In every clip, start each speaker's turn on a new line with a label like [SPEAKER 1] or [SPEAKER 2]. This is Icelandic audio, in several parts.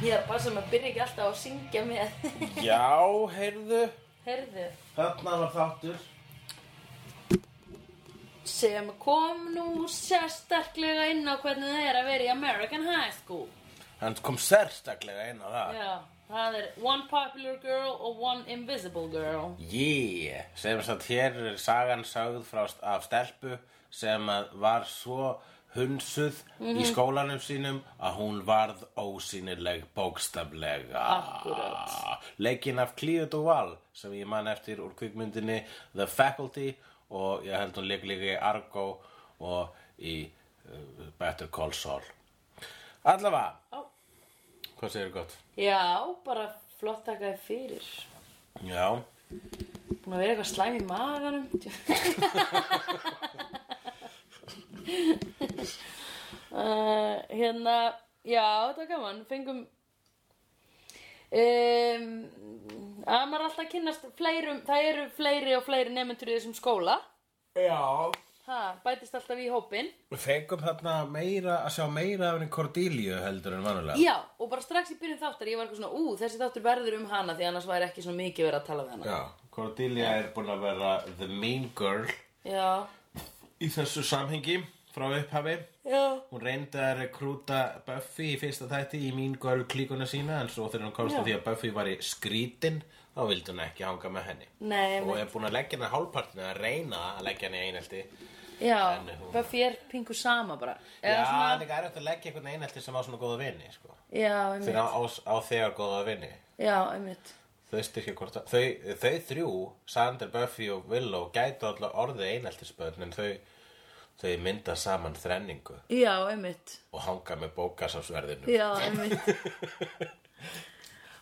[SPEAKER 1] því að passa mig að byrja ekki alltaf að syngja með
[SPEAKER 2] Já, heyrðu
[SPEAKER 1] Herðu
[SPEAKER 2] Þarna var þáttur
[SPEAKER 1] Sem kom nú sérstaklega inn á hvernig það er að vera í American High School
[SPEAKER 2] Hann kom sérstaklega inn á það
[SPEAKER 1] Já, það er One Popular Girl og One Invisible Girl
[SPEAKER 2] Yeah, sem sagt hér er sagan sagð frá, af stelpu sem að var svo hunsuð í skólanum sínum að hún varð ósýnileg bókstaflega.
[SPEAKER 1] Akkúrat.
[SPEAKER 2] Leikinn af Cleo Duval sem ég man eftir úr kvikmyndinni The Faculty og ég held hún leik líka í Argo og í uh, Better Call Saul. Allavega,
[SPEAKER 1] Já.
[SPEAKER 2] hvað segir gott?
[SPEAKER 1] Já, bara flott takaði fyrir
[SPEAKER 2] Já,
[SPEAKER 1] Búin að vera eitthvað slæm í maganum uh, Hérna, já, þetta var gaman Fengum um, að maður er alltaf að kynnast fleirum, það eru fleiri og fleiri nefnendur í þessum skóla
[SPEAKER 2] já.
[SPEAKER 1] ha, bætist alltaf í hópinn
[SPEAKER 2] Við fengum þarna meira, að sjá meira af henni Cordelia heldur en vanulega.
[SPEAKER 1] Já, og bara strax í byrjun þáttar ég var eitthvað svona, ú, þessi þáttur verður um hana því annars væri ekki svona mikið verið að tala við hana
[SPEAKER 2] Já, Cordelia er búin að vera the mean girl
[SPEAKER 1] Já,
[SPEAKER 2] í þessu samhengi frá upphafi.
[SPEAKER 1] já,
[SPEAKER 2] Hún reyndi að rekrúta Buffy í fyrsta þætti í mean girl klíkuna sína en svo þegar hún komst
[SPEAKER 1] Já.
[SPEAKER 2] að því að Buffy var í skrítin þá vildi hún ekki hanga með henni.
[SPEAKER 1] nei,
[SPEAKER 2] Og er búin að leggja henni hálfpartinu að reyna að leggja henni í einhelti.
[SPEAKER 1] Já,
[SPEAKER 2] En hún-
[SPEAKER 1] Buffy er pingu sama bara
[SPEAKER 2] Já,
[SPEAKER 1] Eða
[SPEAKER 2] svona...
[SPEAKER 1] svona,
[SPEAKER 2] en það er eftir að leggja einhvern einhelti sem á svona góða vini, sko.
[SPEAKER 1] já, einmitt
[SPEAKER 2] Þegar á, á, á þegar góða vini.
[SPEAKER 1] Já, einmitt
[SPEAKER 2] Þau styrkja hvort að, þau, þau þrjú, Sander, Buffy og Willow, gætu alltaf orðið eineltisbönn en þau, þau mynda saman þrenningu
[SPEAKER 1] Já, einmitt
[SPEAKER 2] og hanga með bókasafsverðinu.
[SPEAKER 1] Já, einmitt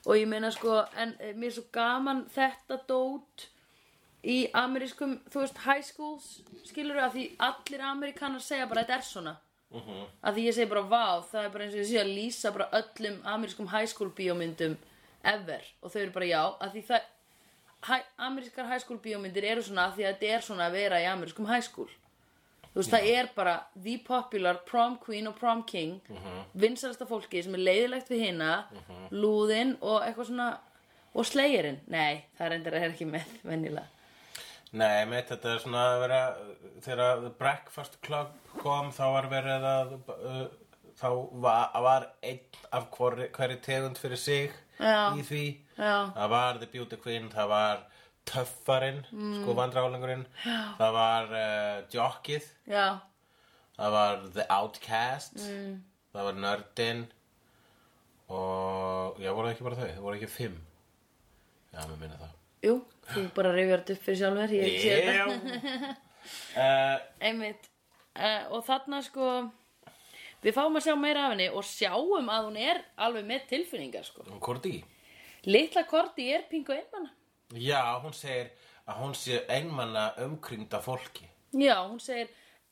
[SPEAKER 1] Og ég meina sko, en eh, mér er svo gaman þetta dót í amerískum, þú veist, high schools skilur að því allir ameríkanar segja bara þetta er svona að því ég segi bara vá, það er bara eins og ég sé að lýsa bara öllum amerískum high school bíómyndum ever og þau eru bara já að því það hæ, amerískar high school bíómyndir eru svona að því að þetta er svona að vera í amerískum high school þú veist það er bara the popular prom queen og prom king mm vinsælasta fólki sem er leiðilegt við hina lúðin og eitthvað svona og slegirinn, nei það reyndar er ekki með venjulega
[SPEAKER 2] Nei, mitt, þetta er svona að vera, þegar The Breakfast Club kom þá var verið að, uh, þá var, var einn af hverri, hverri tegund fyrir sig
[SPEAKER 1] Já.
[SPEAKER 2] í því.
[SPEAKER 1] já,
[SPEAKER 2] Það var The Beauty Queen, það var töffarinn, sko vandrálingurinn, það var uh, jockið.
[SPEAKER 1] já,
[SPEAKER 2] Það var The Outcast
[SPEAKER 1] Mm.
[SPEAKER 2] Það var Nördin Og Já, voru það ekki bara þau, það voru ekki fimm Já, mér minna það
[SPEAKER 1] jú þú bara rifjar þetta upp fyrir sjálfur ég sé þetta
[SPEAKER 2] uh,
[SPEAKER 1] Einmitt. Uh, og þarna sko, við fáum að sjá meira af henni og sjáum að hún er alveg með tilfinningar sko.
[SPEAKER 2] Korti
[SPEAKER 1] Litla Korti er pingu einmanna.
[SPEAKER 2] Já, hún segir að hún sé einmanna umkringda fólki
[SPEAKER 1] Já, hún segir,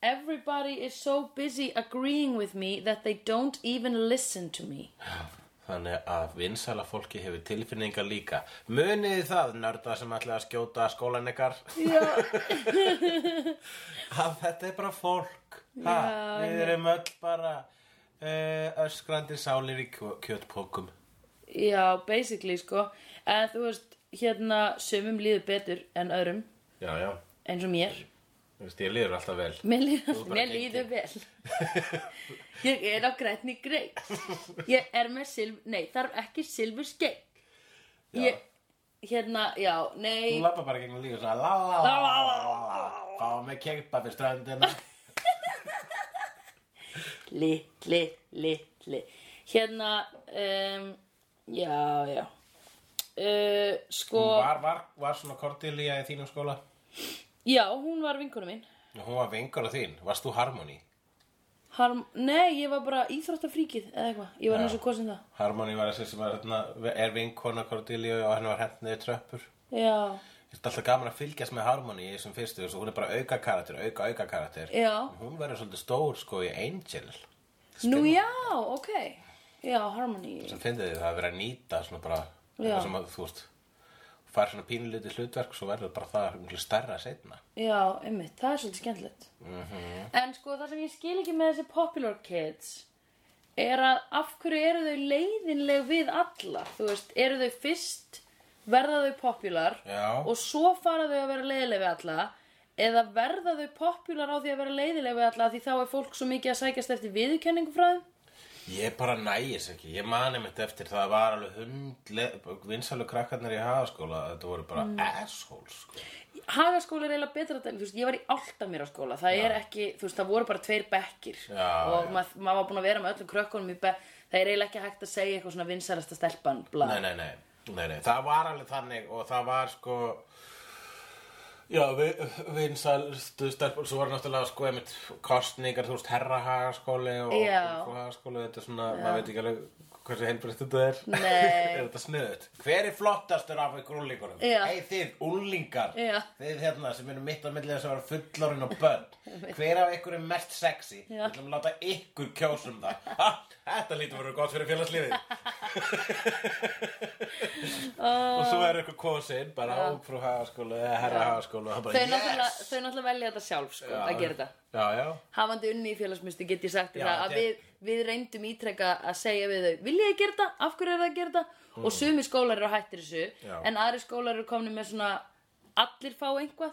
[SPEAKER 1] everybody is so busy agreeing with me that they don't even listen to me.
[SPEAKER 2] Þannig að vinsala fólki hefur tilfinningar líka Munið þið það, nörda sem ætlaði að skjóta skólan ykkar
[SPEAKER 1] Já,
[SPEAKER 2] að þetta er bara fólk ha, við erum öll bara uh, öskrandi sálir í kjö, kjötpókum
[SPEAKER 1] já basically sko, en þú veist, hérna sumum líður betur en öðrum,
[SPEAKER 2] já, já,
[SPEAKER 1] eins og mér.
[SPEAKER 2] þú veist, ég liður alltaf vel
[SPEAKER 1] Mér, líður,
[SPEAKER 2] ert bara
[SPEAKER 1] mér
[SPEAKER 2] gengin.
[SPEAKER 1] líður vel Ég er á grænni grei Ég er með silv Nei, þarf ekki silfur skeik Ég, hérna, já,
[SPEAKER 2] þú
[SPEAKER 1] nei
[SPEAKER 2] lappa bara gegnum líka svona la la la la la la fá mig keipa fyrir strandina
[SPEAKER 1] Litli, litli Hérna, um, já, já uh, Sko,
[SPEAKER 2] var, var, var svona Cordelia í þínum skóla
[SPEAKER 1] já, hún var vinkunum mín
[SPEAKER 2] hún var vingur á þín, varst þú Harmony
[SPEAKER 1] Harm, Nei, ég var bara íþróttafríkið eða eitthvað Ég var næsum kosin það
[SPEAKER 2] Harmony var þessi sem var, hérna, er vinkona Cordelia og henni var hent niður tröppur
[SPEAKER 1] Já,
[SPEAKER 2] Þetta er alltaf gaman að fylgjast með Harmony í þessum fyrstu þessu, hún er bara auka karakter, auka auka karakter
[SPEAKER 1] Já.
[SPEAKER 2] Hún verður svolítið stór sko í Angel
[SPEAKER 1] nú já, ok Já, Harmony
[SPEAKER 2] sem finnir þið það að vera að nýta svona bara
[SPEAKER 1] Já.
[SPEAKER 2] eitthvað sem að þú veist fær svona pínlítið hlutverk svo verður bara það umhverju stærra setna
[SPEAKER 1] Já, einmitt, það er svolítið skemmtilegt En sko, það sem ég skil ekki með þessi popular kids er að af hverju eru þau leiðinleg við alla þú veist, eru þau fyrst verða þau popular
[SPEAKER 2] Já.
[SPEAKER 1] og svo fara þau að vera leiðinleg við alla eða verða þau popular á því að vera leiðinleg við alla því þá er fólk svo mikið að sækjast eftir viðurkenningu frá þeim
[SPEAKER 2] Ég bara nægis ekki, ég mani mitt eftir það var alveg hund, vinsalu krakkarnir í hagaskóla, þetta voru bara
[SPEAKER 1] Mm.
[SPEAKER 2] assholes sko.
[SPEAKER 1] Hagaskóla er eiginlega betra dæmi, þú veist, ég var í alltaf mér á skóla, það er ekki, þú veist, það voru bara tveir bekkir
[SPEAKER 2] Já,
[SPEAKER 1] og
[SPEAKER 2] já.
[SPEAKER 1] maður mað var búin að vera með öllum krökkunum í bekk, það er eiginlega ekki hægt að segja eitthvað svona vinsælasta stelpan, bla.
[SPEAKER 2] Nei, nei, nei, nei, nei, það var alveg þannig og það var sko, já, vi, vinsalstu stelpur, svo var náttúrulega sko einmitt kostningar, þú veist, herra hagaskóli og
[SPEAKER 1] Já.
[SPEAKER 2] og hagaskóli, þetta er svona, maður veit ekki alveg hversu heilbrist þetta er.
[SPEAKER 1] Nei.
[SPEAKER 2] er þetta sniðut? Hver er flottastur af ykkur úlingunum?
[SPEAKER 1] Já.
[SPEAKER 2] Hey, þið, úlingar,
[SPEAKER 1] Já.
[SPEAKER 2] þið hérna sem eru mitt á milli þess að vera fullorinn og börn hver af ykkur er mest sexy við
[SPEAKER 1] Já.
[SPEAKER 2] ætlum að láta ykkur kjósa um það ha, þetta lítur verið gott fyrir félagslífið og svo er ykkur kosinn bara ung frú hagaskólu eða herra hagaskólu og það
[SPEAKER 1] Þau,
[SPEAKER 2] bara
[SPEAKER 1] náttúrulega,
[SPEAKER 2] yes
[SPEAKER 1] þau náttúrulega velja þetta sjálf, sko,
[SPEAKER 2] Já.
[SPEAKER 1] að gera þetta.
[SPEAKER 2] já, já,
[SPEAKER 1] Hafandi unni í félagsmyndstu get ég sagt þér
[SPEAKER 2] Já,
[SPEAKER 1] það að
[SPEAKER 2] þetta er-
[SPEAKER 1] við, við reyndum ítrekka að segja við þau, vilja ég gera þetta, af hverju er það að gera þetta? Og sumi skólar eru hættir þessu,
[SPEAKER 2] Já.
[SPEAKER 1] en aðri skólar eru komin með svona allir fá einhvað.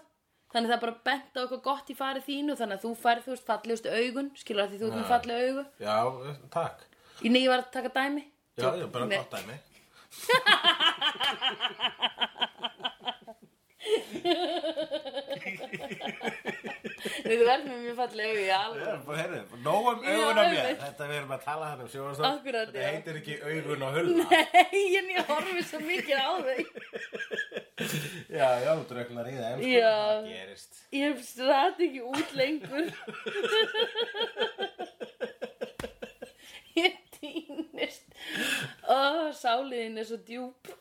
[SPEAKER 1] Þannig það er bara bent á eitthvað gott í farið þínu, þannig að þú færð, þú veist, fallegustu augun, skilur að því þú ert með falleg augu.
[SPEAKER 2] já, eh, takk
[SPEAKER 1] Í nýju var að taka dæmi.
[SPEAKER 2] já, já, bara
[SPEAKER 1] Nei.
[SPEAKER 2] gott dæmi
[SPEAKER 1] Þú verður með mjög falleg augu, já, alveg.
[SPEAKER 2] Já, bara heyrðu, nóg um augun á mér
[SPEAKER 1] einmitt.
[SPEAKER 2] þetta við erum að tala hann um sjóðarstof
[SPEAKER 1] Akkurat,
[SPEAKER 2] þetta
[SPEAKER 1] já.
[SPEAKER 2] heitir ekki augun á hulna
[SPEAKER 1] Nei, en ég horfi svo mikið á þau.
[SPEAKER 2] já, já, drögnar í það
[SPEAKER 1] Já.
[SPEAKER 2] það gerist
[SPEAKER 1] Ég stræði ekki út lengur Ég týnist Ó, sáliðin er svo djúp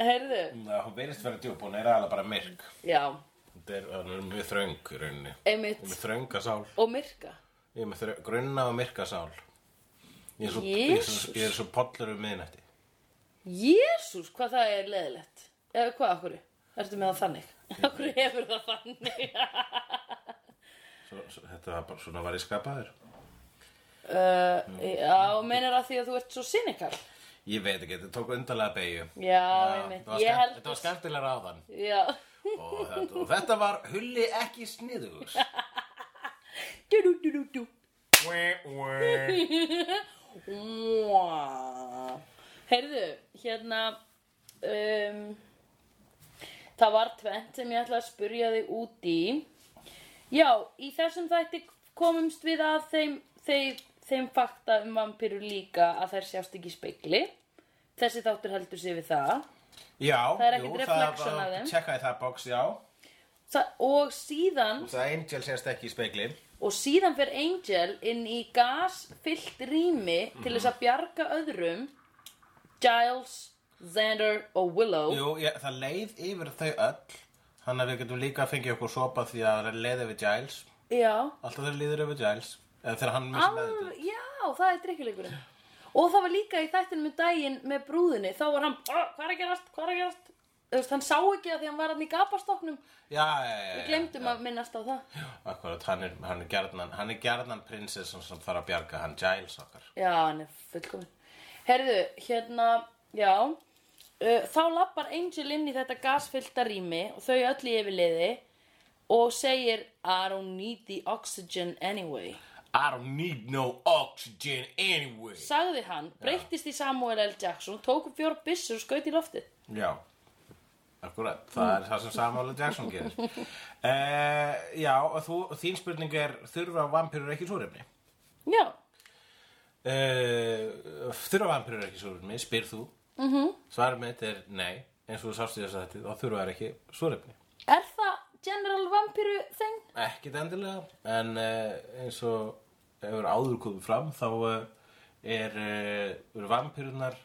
[SPEAKER 1] Herðu,
[SPEAKER 2] Já, hún verðist vera djúb, hún er alveg bara myrk.
[SPEAKER 1] já,
[SPEAKER 2] Þetta er, hún er mjög þröng í rauninni. Ég er
[SPEAKER 1] einmitt
[SPEAKER 2] með þrönga sál.
[SPEAKER 1] Og myrka
[SPEAKER 2] Ég er með þrö, grunna og myrka sál. Ég er svo, ég er
[SPEAKER 1] Jesús.
[SPEAKER 2] svo, ég er svo pollur um miðnætti.
[SPEAKER 1] Jésús, hvað það er leðilegt Eða hvað, okkur? Ertu með það þannig? Okkur hefur það þannig
[SPEAKER 2] Svo, svo, þetta var bara svona var ég skapaður.
[SPEAKER 1] uh, Já, meinar að því að þú ert svo cynical
[SPEAKER 2] Ég veit ekki, þetta tók undarlega beigju.
[SPEAKER 1] Já, einmitt,
[SPEAKER 2] þetta var
[SPEAKER 1] ég
[SPEAKER 2] skemmt-
[SPEAKER 1] held
[SPEAKER 2] Þetta var skemmtilega ráðan.
[SPEAKER 1] Já
[SPEAKER 2] Og þetta, og þetta var hulli ekki sniðugur.
[SPEAKER 1] Du, du, du, du, du
[SPEAKER 2] Wee, wee.
[SPEAKER 1] Mwah. Heyrðu, hérna um, Það var tvent sem ég ætla að spurja þig út í Já, í þessum þætti komumst við að þeim, þeim, þeim fakta um vampirur líka að þær sjást ekki í speikli Þessi þáttur heldur sig við það
[SPEAKER 2] Já,
[SPEAKER 1] Það er ekkert
[SPEAKER 2] jú,
[SPEAKER 1] reflection
[SPEAKER 2] var-
[SPEAKER 1] af þeim.
[SPEAKER 2] Checkaði það box, já.
[SPEAKER 1] Þa, Og síðan
[SPEAKER 2] Það Angel sést ekki í speikli.
[SPEAKER 1] Og síðan fer Angel inn í gasfyllt rými til þess að bjarga öðrum Giles, Xander og Willow
[SPEAKER 2] Jú, ég, það leið yfir þau öll Þannig að við getum líka að fengja okkur sopa því að það leið yfir Giles
[SPEAKER 1] Já,
[SPEAKER 2] Alltaf þeir leiðir yfir Giles Eða þegar hann missir með þetta
[SPEAKER 1] Al, já það er drikkjuleikurinn Og það var líka í þættinum um daginn með brúðinni Þá var hann, "Ah, hvað er að gerast, hvað er að gerast Þú veist, hann sá ekki að því hann var hann í gapastoknum
[SPEAKER 2] Já, já, já, Eh, já
[SPEAKER 1] Glemdum að minnast á það
[SPEAKER 2] Akkurat, hann er, hann er gjarnan, hann er gjarnan prinsessan sem þarf að bjarga hann Giles okkar
[SPEAKER 1] Já, hann er fullkomin Herðu, hérna, já uh, Þá lappar Angel inn í þetta gasfyllta rými og þau öll í yfirliði og segir I don't need the oxygen anyway
[SPEAKER 2] I don't need no oxygen anyway
[SPEAKER 1] Sagði hann, breyttist í Samuel L. Jackson tók upp fjóra byssur og skaut í loftið
[SPEAKER 2] Já, akkurat, það er það sem Samuel L. Jackson gerir uh, Já, og þú, þín spurning er Þurfa vampirur ekki súrefni?
[SPEAKER 1] Já,
[SPEAKER 2] Uh, þurfa vampirur ekki súrefni, spyr þú mm -hmm. Svar mitt er nei eins og þú sást í þess að þetta, þá þurfa þær ekki súrefni
[SPEAKER 1] er það General Vampiru þeng?
[SPEAKER 2] Ekkit endilega, en uh, eins og hefur áður komið fram þá uh, er uh, eru vampirunar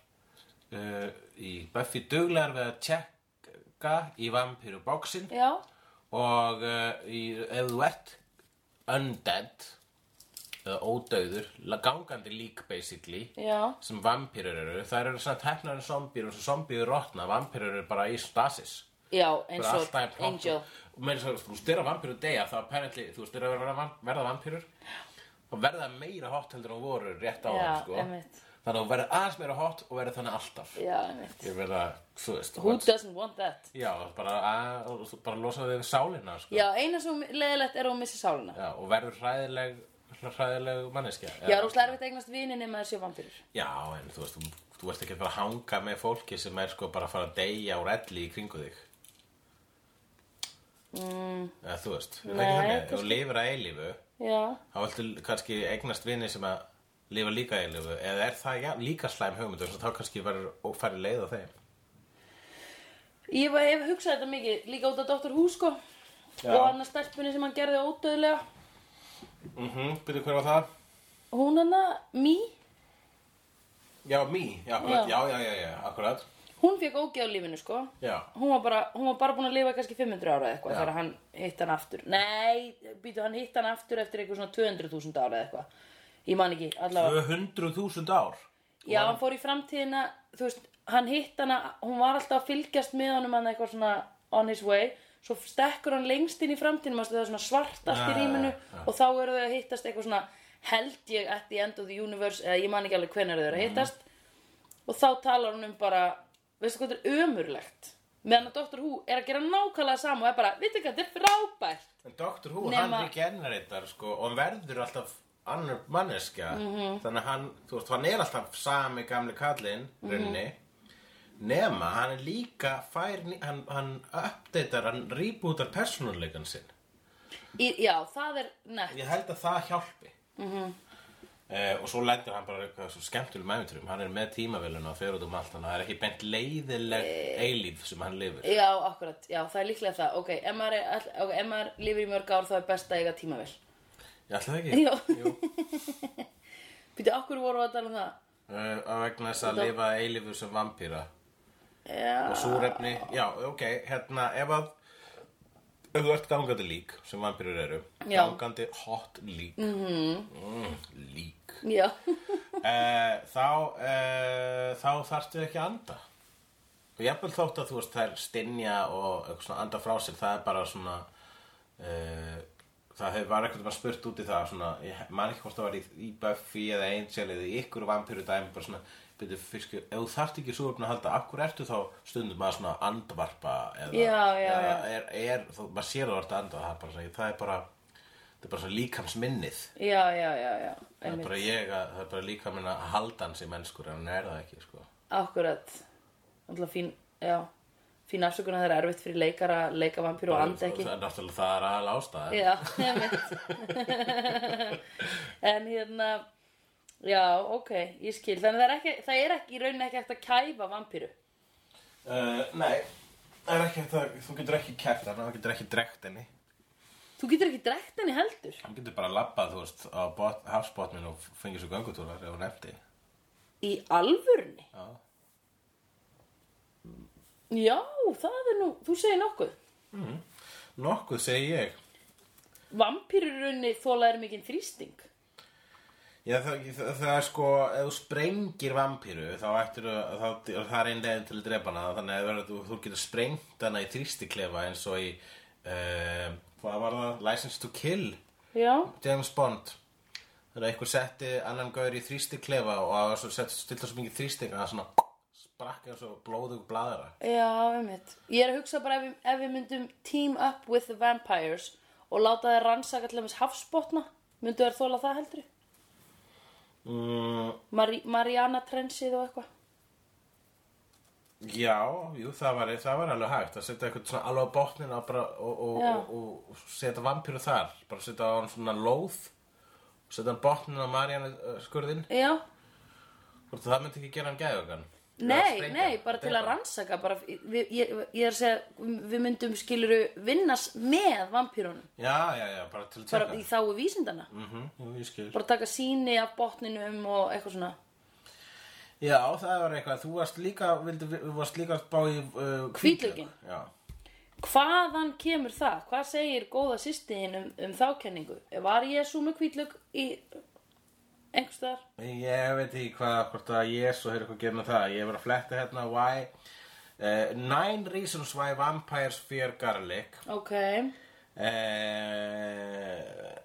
[SPEAKER 2] uh, í Buffy duglegar við að tjekka í vampiruboksin
[SPEAKER 1] Já,
[SPEAKER 2] og uh, í, ef þú ert undead eða ódauður, la- gangandi lík basically
[SPEAKER 1] já,
[SPEAKER 2] sem vampýrur eru þær eru svona teknar en zombýr og svo zombýr rotna, vampýrur eru bara í stasis
[SPEAKER 1] já, eins
[SPEAKER 2] bara
[SPEAKER 1] og
[SPEAKER 2] alltaf í plott
[SPEAKER 1] Angel
[SPEAKER 2] og meira svo, þú styrir að vampýrur deyja þá apparently, þú styrir að vera, verða vampýrur og verða meira hot heldur en hún voru rétt á
[SPEAKER 1] Já,
[SPEAKER 2] hann sko.
[SPEAKER 1] einmitt.
[SPEAKER 2] þannig að hún verður aðeins meira hot og verður þannig alltaf
[SPEAKER 1] Já, einmitt.
[SPEAKER 2] ég verða, þú veist
[SPEAKER 1] Who
[SPEAKER 2] hún-
[SPEAKER 1] doesn't want that?
[SPEAKER 2] já, bara, að, bara losa þig við sálina sko.
[SPEAKER 1] Já, eina sem leðilegt er að hún missi sálina.
[SPEAKER 2] Já, og verður hræðileg hræðileg manneskja
[SPEAKER 1] Já, rúslega erfitt að eignast vini nema þessi vampýrur.
[SPEAKER 2] já, en þú veist, þú, þú veist ekki að fara að hanga með fólki sem er sko bara að fara að deyja úr elli í kringu þig mm. eða þú veist það er ekki
[SPEAKER 1] Nei,
[SPEAKER 2] þannig.
[SPEAKER 1] kannski-
[SPEAKER 2] ef þú lifir að eilífu
[SPEAKER 1] Já.
[SPEAKER 2] þá viltu kannski eignast vini sem að lifa líka eilífu eða er það já, líka slæm hugmyndur svo þá kannski verður og færi leið á þeim
[SPEAKER 1] Ég var, hef hugsað þetta mikið, líka út af Dr. Who, sko.
[SPEAKER 2] Já.
[SPEAKER 1] Og hann að stelpunni sem hann gerði ódöðlega.
[SPEAKER 2] mhm, mm byrju hver var það?
[SPEAKER 1] Hún hann að, Mí,
[SPEAKER 2] já, mý, já, akkurat, já,
[SPEAKER 1] Já.
[SPEAKER 2] já, já, já, akkurat
[SPEAKER 1] hún fekk ógeð á lífinu, sko.
[SPEAKER 2] já,
[SPEAKER 1] Hún var bara, hún var bara búin að lifa kannski 500 ára eða eitthvað
[SPEAKER 2] Já.
[SPEAKER 1] þegar hann hitt hann aftur. Nei, býtu, hann hitt hann aftur eftir eitthvað svona 200.000 ára eða eitthvað. Ég man ekki, allavega.
[SPEAKER 2] 200.000 ár
[SPEAKER 1] Já, hann fór í framtíðina, þú veist, hann hitt hana, hún var alltaf að fylgjast með honum hann eitthvað svona on his way. Svo stekkur hann lengst inn í framtíðinu, manstu, það er svona svart allt í
[SPEAKER 2] Já,
[SPEAKER 1] rýminu
[SPEAKER 2] já, já.
[SPEAKER 1] og þá eru þau að hittast eitthvað svona held ég at the end of the universe, eða ég man ekki alveg hvenær þau eru að hittast. Og þá talar hún um bara, veistu hvað þetta er ömurlegt? Meðan að Dr. Who er að gera nákvæmlega sama og er bara, veitu hvað, þetta er frábært.
[SPEAKER 2] En Dr. Who,
[SPEAKER 1] Nema-
[SPEAKER 2] hann regeneritar sko, og hann verður alltaf annar manneskja
[SPEAKER 1] Mhm.
[SPEAKER 2] þannig að hann, þú veist, hann er alltaf sami gamli kallinn,
[SPEAKER 1] Mhm.
[SPEAKER 2] runni nema, hann er líka fær, ný- hann, hann updatear, hann rebootar persónuleikan sinn
[SPEAKER 1] Í, já, það er nett.
[SPEAKER 2] ég held að það hjálpi
[SPEAKER 1] Mhm.
[SPEAKER 2] Eh, og svo lendir hann bara eitthvað svo skemmtilegum æfinturum, hann er með tímavéluna og fer út um allt, þannig að það er ekki bent leiðileg
[SPEAKER 1] Eh.
[SPEAKER 2] eilíf sem hann lifir
[SPEAKER 1] Já, akkurat, já, það er líklega það Ok, ef maður, er, all- ok, ef maður lifir í mörg ár þá er best að eiga tímavel
[SPEAKER 2] ég ætla það ekki
[SPEAKER 1] Já.
[SPEAKER 2] Jú.
[SPEAKER 1] Býtu, okkur voru að tala um það?
[SPEAKER 2] Eh, á vegna þess að
[SPEAKER 1] Þetta-
[SPEAKER 2] lifa eilífu sem vampýra og
[SPEAKER 1] Já,
[SPEAKER 2] súrefni, já, ok, hérna ef að ef þú ert gangandi lík sem vampirur eru
[SPEAKER 1] Já. Mhm.
[SPEAKER 2] gangandi hot lík mm lík
[SPEAKER 1] já
[SPEAKER 2] uh, þá uh, þá þarftu ekki að anda og jafnvel þótt að þú veist þær stinja og eitthvað svona anda frá sér það er bara svona uh, það hefur var eitthvað bara spurt út í það svona, ég man ekki hvort það var í, í Buffy eða Angel eða í ykkur vampiru dæmi bara svona, byrju fyrstu, ef þú þarft ekki súröfni að halda, af hverju ertu þá stundum að svona andvarpa eða,
[SPEAKER 1] Já, já,
[SPEAKER 2] eða
[SPEAKER 1] já.
[SPEAKER 2] Er, er, þú, maður sér að þú ert að anda það er bara, svona, það er bara, það er bara svona líkamsminnið
[SPEAKER 1] Já, já, já, já
[SPEAKER 2] Það er
[SPEAKER 1] einmitt.
[SPEAKER 2] bara ég að, það er bara líka minna að halda hans í mennskur en hann er það ekki, sko.
[SPEAKER 1] Akkurat Alltaf fín, já Fín afsökun að það er erfitt fyrir leikara, leika vampíru og anda ekki
[SPEAKER 2] Það er náttúrulega það er aðal ástæða.
[SPEAKER 1] Já, einmitt En hérna Já, ok, ég skil Þannig það er ekki, það er ekki í rauninni ekki hægt að kæfa vampíru
[SPEAKER 2] Uh, nei, það er ekki, það, þú getur ekki kæft hann, þú getur ekki drekt henni.
[SPEAKER 1] Þú getur ekki drekt henni heldur
[SPEAKER 2] Hann getur bara labbað, þú veist, á bot, hafsbotnin og fengið svo göngutúrar ef hún eftir.
[SPEAKER 1] Í alvörni?
[SPEAKER 2] Já.
[SPEAKER 1] Já, það er nú, þú segir nokkuð.
[SPEAKER 2] Nokkuð segi ég.
[SPEAKER 1] Vampýrurunni þólaðir mikinn þrýsting.
[SPEAKER 2] Já, það, það, það er sko, ef þú sprengir vampíru, þá ættir að, þá, það er einn leiðin til að drepa hana, þannig að verður- þú, þú getur sprengt hana í þrýstiklefa eins og í, uh, hvað var það, License to Kill.
[SPEAKER 1] Já,
[SPEAKER 2] James Bond þegar einhver setti annan gaur í þrýstiklefa og það var svo sett stilla svo mikið þrýsting að það svona sprakk eins og blóðug bladra
[SPEAKER 1] já, einmitt. Ég er að hugsa bara ef, við- ef við myndum team up with the vampires og láta þeir rannsaka til þess hafsbotna, myndu þeir þóla það heldur?
[SPEAKER 2] mm,
[SPEAKER 1] Mari, Mariana Trensið og eitthvað.
[SPEAKER 2] Já, jú, það var, það var alveg hægt að setja eitthvað svona alveg á botnin og, bara, og, og,
[SPEAKER 1] Já.
[SPEAKER 2] og, og, og setja vampíru þar bara setja á hann svona lóð og setja hann botnin á uh, Mariana skurðin
[SPEAKER 1] Já,
[SPEAKER 2] hvort það myndi ekki gera hann gæðugan
[SPEAKER 1] nei, nei, bara til að rannsaka. Bara, við, ég, ég er að segja, við myndum skiluru vinnas með vampýrunum.
[SPEAKER 2] Já, já, já, bara til að
[SPEAKER 1] Bara
[SPEAKER 2] tjaka
[SPEAKER 1] í þáu vísindana.
[SPEAKER 2] mm Jú, ég skil
[SPEAKER 1] Bara taka síni af botninum og eitthvað svona.
[SPEAKER 2] Já, það var eitthvað, þú varst líka, vildi, þú varst líka að spá í uh,
[SPEAKER 1] Hvítlaukinn.
[SPEAKER 2] Já,
[SPEAKER 1] Hvaðan kemur það? Hvað segir góða sýstiðin um, um þákenningu? Var Jésu með kvítlög í einhvers staðar?
[SPEAKER 2] ég veit ekki hvað, hvort að Jésu hefur eitthvað gefið með það, ég var að fletta hérna why, uh, nine reasons why vampires fear garlic
[SPEAKER 1] Ok,
[SPEAKER 2] Eh, uh,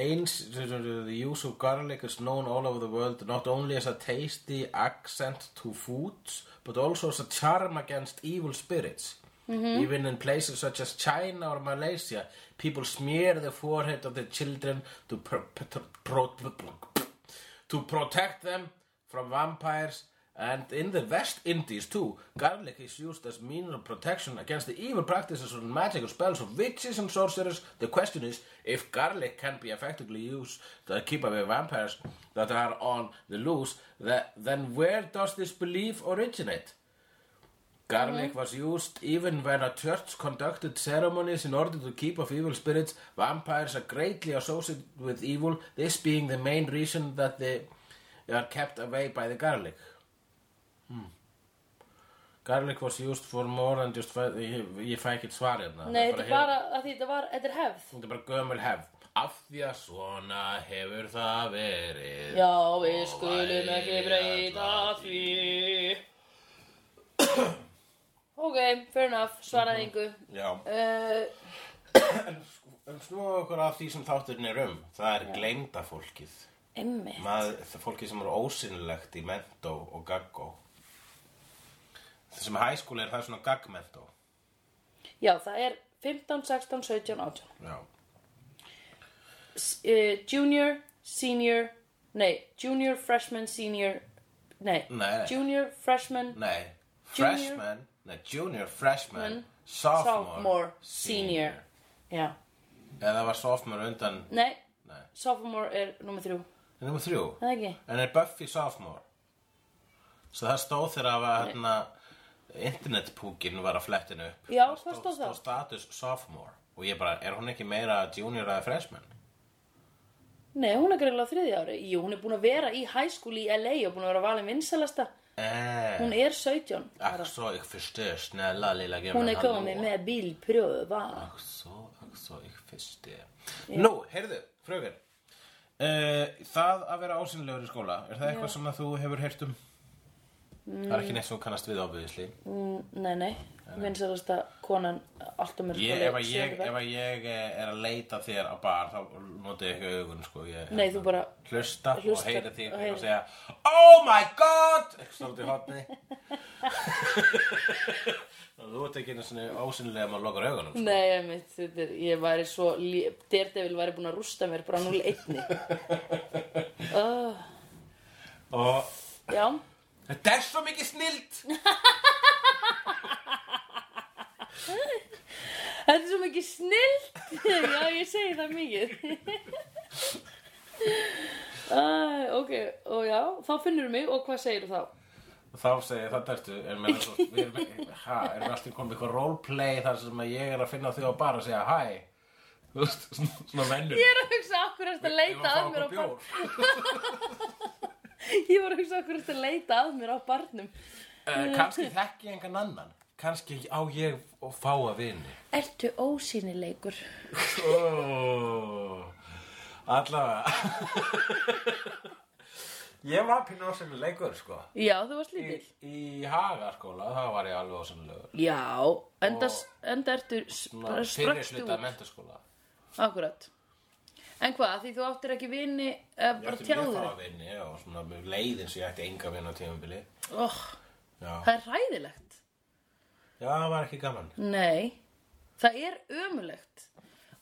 [SPEAKER 2] Ains, the use of garlic is known all over the world not only as a tasty accent to foods but also as a charm against evil spirits. Even in places such as China or Malaysia, people smear the forehead of the children to, pr- pr- pro- to protect them from vampires. And in the West Indies too, garlic is used as means of protection against the evil practices and magical spells of witches and sorcerers. The question is if garlic can be effectively used to keep away vampires that are on the loose, tha- then where does this belief originate? Garlic was used even when a church conducted ceremonies in order to keep off evil spirits. Vampires are greatly associated with evil, this being the main reason that they are kept away by the garlic. Hmm. Garlic was used for more than just... fa- Ég, ég fæ ekkert svar hérna.
[SPEAKER 1] Nei,
[SPEAKER 2] Það
[SPEAKER 1] þetta
[SPEAKER 2] er
[SPEAKER 1] er bara að því þetta var, þetta er hefð.
[SPEAKER 2] Þetta er bara gömul hefð. Af því að svona hefur það verið.
[SPEAKER 1] Já, við skulum ekki breyta því. ok, fair enough, svaraði yngu.
[SPEAKER 2] Já.
[SPEAKER 1] Uh,
[SPEAKER 2] En snúa okkur að því sem þátturinn er um. Það er gleymda fólkið.
[SPEAKER 1] emmi.
[SPEAKER 2] Maður, það er fólkið sem eru ósynlegt í mentó og gaggó. Það sem hæskúli er það er svona gaggmentó.
[SPEAKER 1] Já, það er 15, 16, 17, 18.
[SPEAKER 2] Já.
[SPEAKER 1] S- Uh, junior, senior, nei, junior, freshman, senior, nei,
[SPEAKER 2] Nei, nei.
[SPEAKER 1] junior, freshman,
[SPEAKER 2] Nei,
[SPEAKER 1] Junior-
[SPEAKER 2] freshman, nei, junior, freshman, sophomore,
[SPEAKER 1] sophomore, senior. já.
[SPEAKER 2] Eða var sophomore undan,
[SPEAKER 1] Nei,
[SPEAKER 2] nei,
[SPEAKER 1] sophomore er nummer þrjú,
[SPEAKER 2] en nummer þrjú.
[SPEAKER 1] það er ekki?
[SPEAKER 2] En er Buffy sophomore? Svo það stóð þegar að var hérna, internetpúkin var að flettinu upp.
[SPEAKER 1] Já, hvað stóð það?
[SPEAKER 2] Stóð status sophomore. Og ég bara, er hún ekki meira junior eða freshman?
[SPEAKER 1] Nei, hún er greiðlega á þriðja ári. Jú, hún er búin að vera í high school í LA og búin að vera valin vinsalasta.
[SPEAKER 2] Eh.
[SPEAKER 1] Hún er 17.
[SPEAKER 2] Ach so, ich verstehe. Schneller, lilla Gemma.
[SPEAKER 1] Hún er komið með bílpröfa.
[SPEAKER 2] Ach so, ach so, ich verstehe. Nú, heyrðu, fröken. Uh, það að vera ásynlegur í skóla, er það eitthvað sem að þú hefur heyrt um? Það er ekki neitt sem Mm. þú kannast við ábyggisli.
[SPEAKER 1] Mm, Nei, nei, vinsalasta konan um alltaf mér
[SPEAKER 2] Ég, ef að ég, ef að ég eh, er að leita þér á bar, þá nota ég ekki augun, sko. Ég,
[SPEAKER 1] Nei, þú bara,
[SPEAKER 2] Hlusta og
[SPEAKER 1] Hlustar
[SPEAKER 2] heyra þig
[SPEAKER 1] og
[SPEAKER 2] og,
[SPEAKER 1] heyrir.
[SPEAKER 2] segja Oh my god! Stórt í hotni. þú ert ekki einu svona ósynlega maður lokar augunum, sko.
[SPEAKER 1] nei, ég mitt, þetta er, ég væri svo, lé- Daredevil væri búin að rústa mér bara 0-1. oh,
[SPEAKER 2] Og
[SPEAKER 1] já,
[SPEAKER 2] Þetta er svo mikið snilt
[SPEAKER 1] þetta er svo mikið snillt, já, ég segi það mikið. Æ, ok, og já, þá finnur mig og hvað segir þú þá?
[SPEAKER 2] Og þá segir það dæstu En meðan svo, við erum ekki Ha, erum við alltaf komið eitthvað roleplay Þar sem að ég er að finna þig á bara að segja hæ Þú veist, svona- svona mennur
[SPEAKER 1] Ég er að hugsa okkur eftir að leita að mér á barnum. Ég var að hugsa okkur eftir að leita að mér á barnum.
[SPEAKER 2] Kanski Eh, þekki ég engan annan Kanski á ég og fá að vini
[SPEAKER 1] Ertu ósýnilegur?
[SPEAKER 2] oh, Allavega Ég var pínu ásennu leikur sko
[SPEAKER 1] Já, þú varst
[SPEAKER 2] Í,
[SPEAKER 1] lítill.
[SPEAKER 2] í Hagaskóla, það var ég alveg ásennulegur
[SPEAKER 1] Já, enda, enda ertu s- bara
[SPEAKER 2] Fyrir
[SPEAKER 1] straxt
[SPEAKER 2] hluta
[SPEAKER 1] út.
[SPEAKER 2] mentaskóla
[SPEAKER 1] Akkurat. En hvað, því þú áttir ekki vini, uh,
[SPEAKER 2] Ég
[SPEAKER 1] bara
[SPEAKER 2] ætti mjög
[SPEAKER 1] tjáður.
[SPEAKER 2] fara vinni og svona með leiðin sem ég ætti enga vinn á tímabili.
[SPEAKER 1] Oh,
[SPEAKER 2] Já.
[SPEAKER 1] það er ræðilegt.
[SPEAKER 2] Já, það var ekki gaman.
[SPEAKER 1] Nei, það er ömulegt.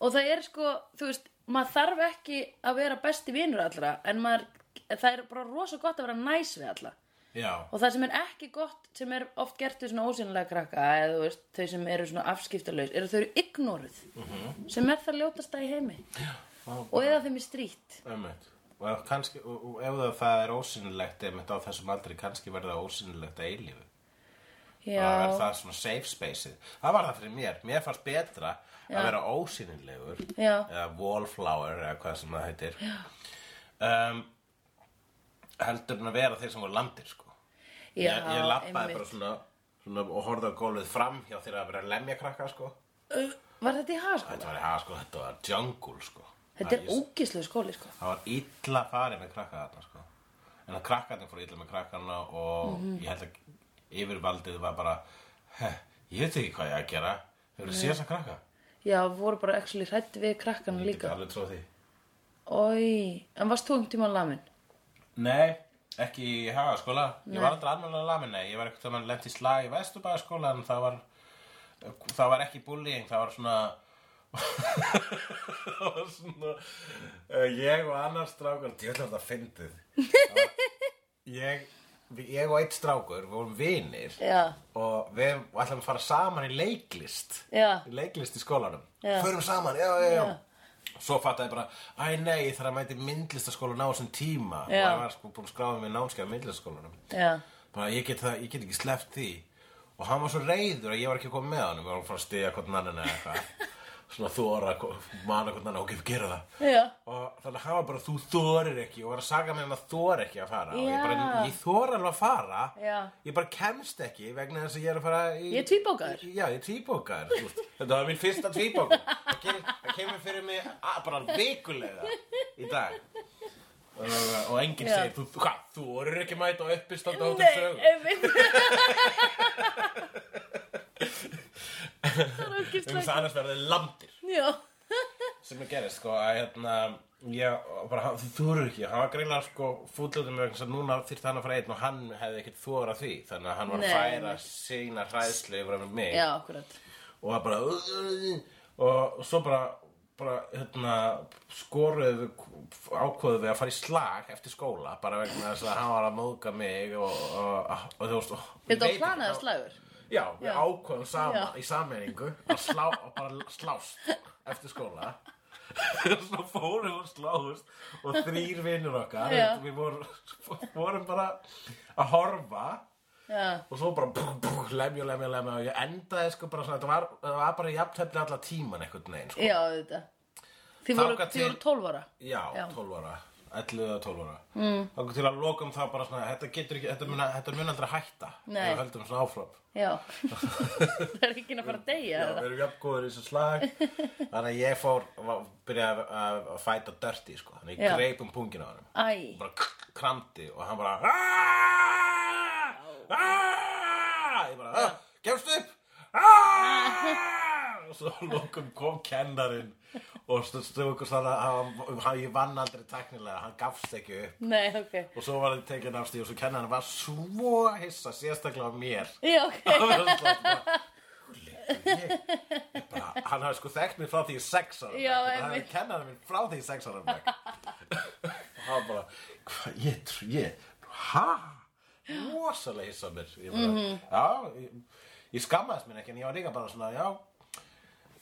[SPEAKER 1] Og það er sko, þú veist, maður þarf ekki að vera besti vinur allra, en maður, það er bara rosa gott að vera næs við alla.
[SPEAKER 2] Já.
[SPEAKER 1] Og það sem er ekki gott, sem er oft gert við svona ósynlega krakka, eða þú veist, þau sem eru svona afskiptalaus, eru þau eru ignoruð,
[SPEAKER 2] Mhm.
[SPEAKER 1] sem er það ljótasta í heimi.
[SPEAKER 2] Og
[SPEAKER 1] Og eða þeim er strýtt.
[SPEAKER 2] ömmut. Og ef, kannski, og, og ef það- það er ósynilegt einmitt á þessum aldri, kannski verður það ósynilegt að eilífu. Það er
[SPEAKER 1] Já,
[SPEAKER 2] það svona safe spaceið. Það var það fyrir mér. Mér fannst betra að vera ósynilegur.
[SPEAKER 1] Já.
[SPEAKER 2] Eða wallflower, eða hvað sem það heitir. Um, heldur en að vera þeir sem voru landir, sko.
[SPEAKER 1] já,
[SPEAKER 2] ég, ég lappaði
[SPEAKER 1] einmitt.
[SPEAKER 2] bara svona, svona og horfði á gólfið fram hjá þeirra að vera að lemja krakka sko.
[SPEAKER 1] Uh, Var þetta í
[SPEAKER 2] Þetta
[SPEAKER 1] haskóla?
[SPEAKER 2] var, ha, sko, þetta var jungle sko.
[SPEAKER 1] Þetta er
[SPEAKER 2] Það- ég-
[SPEAKER 1] ógislega skóli, sko.
[SPEAKER 2] Það var illa farið með krakka þarna sko. En að krakkarnir fór illa með krakkana og
[SPEAKER 1] Mhm.
[SPEAKER 2] ég held að yfirvaldið var bara "Heh, ég veit ekki hvað ég á að gera. Þau eru síðast að krakka.
[SPEAKER 1] Já, voru bara actually hrætt við krakkana
[SPEAKER 2] Ég get
[SPEAKER 1] líka.
[SPEAKER 2] alveg tróð því.
[SPEAKER 1] Oi, en varst þú um tíma lamin?
[SPEAKER 2] Nei, ekki í hagaskóla. Ég var aldrei almennilega lamin, nei. Ég var eitthvað mann lent í slag í vesturbæðaskóla en það var, það var ekki bullying, það var svona... það var svona... eh, Ég og annar strákur, djöðlega þetta fyndið. Það var- Ég, ég og eitt strákur, við vorum vinir
[SPEAKER 1] Já,
[SPEAKER 2] og við ætlum að fara saman í leiklist.
[SPEAKER 1] já,
[SPEAKER 2] í leiklist í skólanum
[SPEAKER 1] Já.
[SPEAKER 2] förum saman, já, já, já Svo fattaði ég bara, æ nei, ég þarf að mæti myndlistaskóla ná þessum tíma og
[SPEAKER 1] Já.
[SPEAKER 2] ég var sko búin að skráða mig námskeið á myndlistaskólanum
[SPEAKER 1] já,
[SPEAKER 2] bara ég get, það, ég get ekki sleppt því og hann var svo reyður að ég var ekki að koma með honum og hann fór að stiga hvort annan eða eitthvað svona þóra, mana hvort annan ok, við gera það
[SPEAKER 1] já,
[SPEAKER 2] og þannig að hann var bara þú þorir ekki og var að saga mig um að þor ekki að fara og ég bara,
[SPEAKER 1] Já.
[SPEAKER 2] ég þor alveg að fara
[SPEAKER 1] Já.
[SPEAKER 2] ég bara kemst ekki vegna þess að ég er að fara í...
[SPEAKER 1] Ég er tvíbókaður.
[SPEAKER 2] já, ég er tvíbókaður þú veist. þetta var mín fyrsta tvíbókar það kemur- það kemur fyrir mig að, bara vikulega í dag og, og enginn
[SPEAKER 1] Já.
[SPEAKER 2] segir þú, hvað, þú orður ekki að mæta og uppistand á
[SPEAKER 1] Nei,
[SPEAKER 2] þessum sögum
[SPEAKER 1] einmitt Það er
[SPEAKER 2] um
[SPEAKER 1] ógislega
[SPEAKER 2] þess að annars verður landir
[SPEAKER 1] Já,
[SPEAKER 2] sem er gerist sko að hérna ég bara, hann- þú þurfur ekki, hann var greinlega sko fúllöðum vegna þess að núna þyrfti hann að fara einn og hann hefði ekkert þóra því þannig að hann var að
[SPEAKER 1] Nei,
[SPEAKER 2] færa
[SPEAKER 1] nei.
[SPEAKER 2] sína hræðslu yfir með mig
[SPEAKER 1] já, akkurat
[SPEAKER 2] og það bara og, og svo bara, bara hérna, skoruðu við- ákvöðu við að fara í slag eftir skóla bara vegna þess að hann var að móðga mig og, og, og, og þú veist og,
[SPEAKER 1] Þetta
[SPEAKER 2] ég
[SPEAKER 1] var
[SPEAKER 2] veit ekki-
[SPEAKER 1] planaði slagur
[SPEAKER 2] Já, við
[SPEAKER 1] Já.
[SPEAKER 2] ákvöðum sama,
[SPEAKER 1] Já.
[SPEAKER 2] í sameiningu að slá, að bara slást eftir skóla Svo fórum og sláðust og þrýr vinnur okkar
[SPEAKER 1] Já.
[SPEAKER 2] við vorum, vorum bara að horfa
[SPEAKER 1] Já,
[SPEAKER 2] og svo bara bú, bú, lemja, lemja, lemja og ég endaði sko bara svona, þetta var, það var bara jafntefni alla tíman einhvern veginn sko.
[SPEAKER 1] já, þetta Þið voru,
[SPEAKER 2] Þangað
[SPEAKER 1] þið voru
[SPEAKER 2] til-
[SPEAKER 1] 12 ára
[SPEAKER 2] Já,
[SPEAKER 1] Já.
[SPEAKER 2] 12 ára, 11 eða 12 ára mm. og til að lokum það bara svona, þetta getur ekki, þetta mun, þetta mun aldrei hætta
[SPEAKER 1] Nei.
[SPEAKER 2] ef við höldum svona áfram
[SPEAKER 1] Já Það er ekki að fara að deyja
[SPEAKER 2] Já,
[SPEAKER 1] þetta
[SPEAKER 2] við erum jafngóður í þessu slag Þannig að ég fór að byrja að, að, að fæta dirty sko. Þannig að
[SPEAKER 1] Já.
[SPEAKER 2] ég greip um pungin á hann
[SPEAKER 1] Æ,
[SPEAKER 2] Bara k- kramdi og hann bara "Aaaah! Aaaah!" Ég bara, "Ah, gefst upp "Aaaah!" Og svo að lokum kom kennarin Og stöðu okkur þannig að hann- hann- ég vann aldrei teknilega Hann gafst ekki upp
[SPEAKER 1] nei, ok
[SPEAKER 2] Og svo var hann tekinn af stíð og svo kennarin var svo hissa Sérstaklega á mér
[SPEAKER 1] Já, ok
[SPEAKER 2] Það var alltaf bara, "Húli, ég- ég bara, hann hafði sko þekkt mér frá því ég er sex ára
[SPEAKER 1] Já,
[SPEAKER 2] hann hafði
[SPEAKER 1] einmitt.
[SPEAKER 2] kennað mér frá því ég er sex ára bekk. og hann bara hvað, ég, tr- ég, ha rosalega hissa á mér ég bara,
[SPEAKER 1] Mhm.
[SPEAKER 2] já, ég, ég skammaðist mér ekki en ég var líka bara svona, já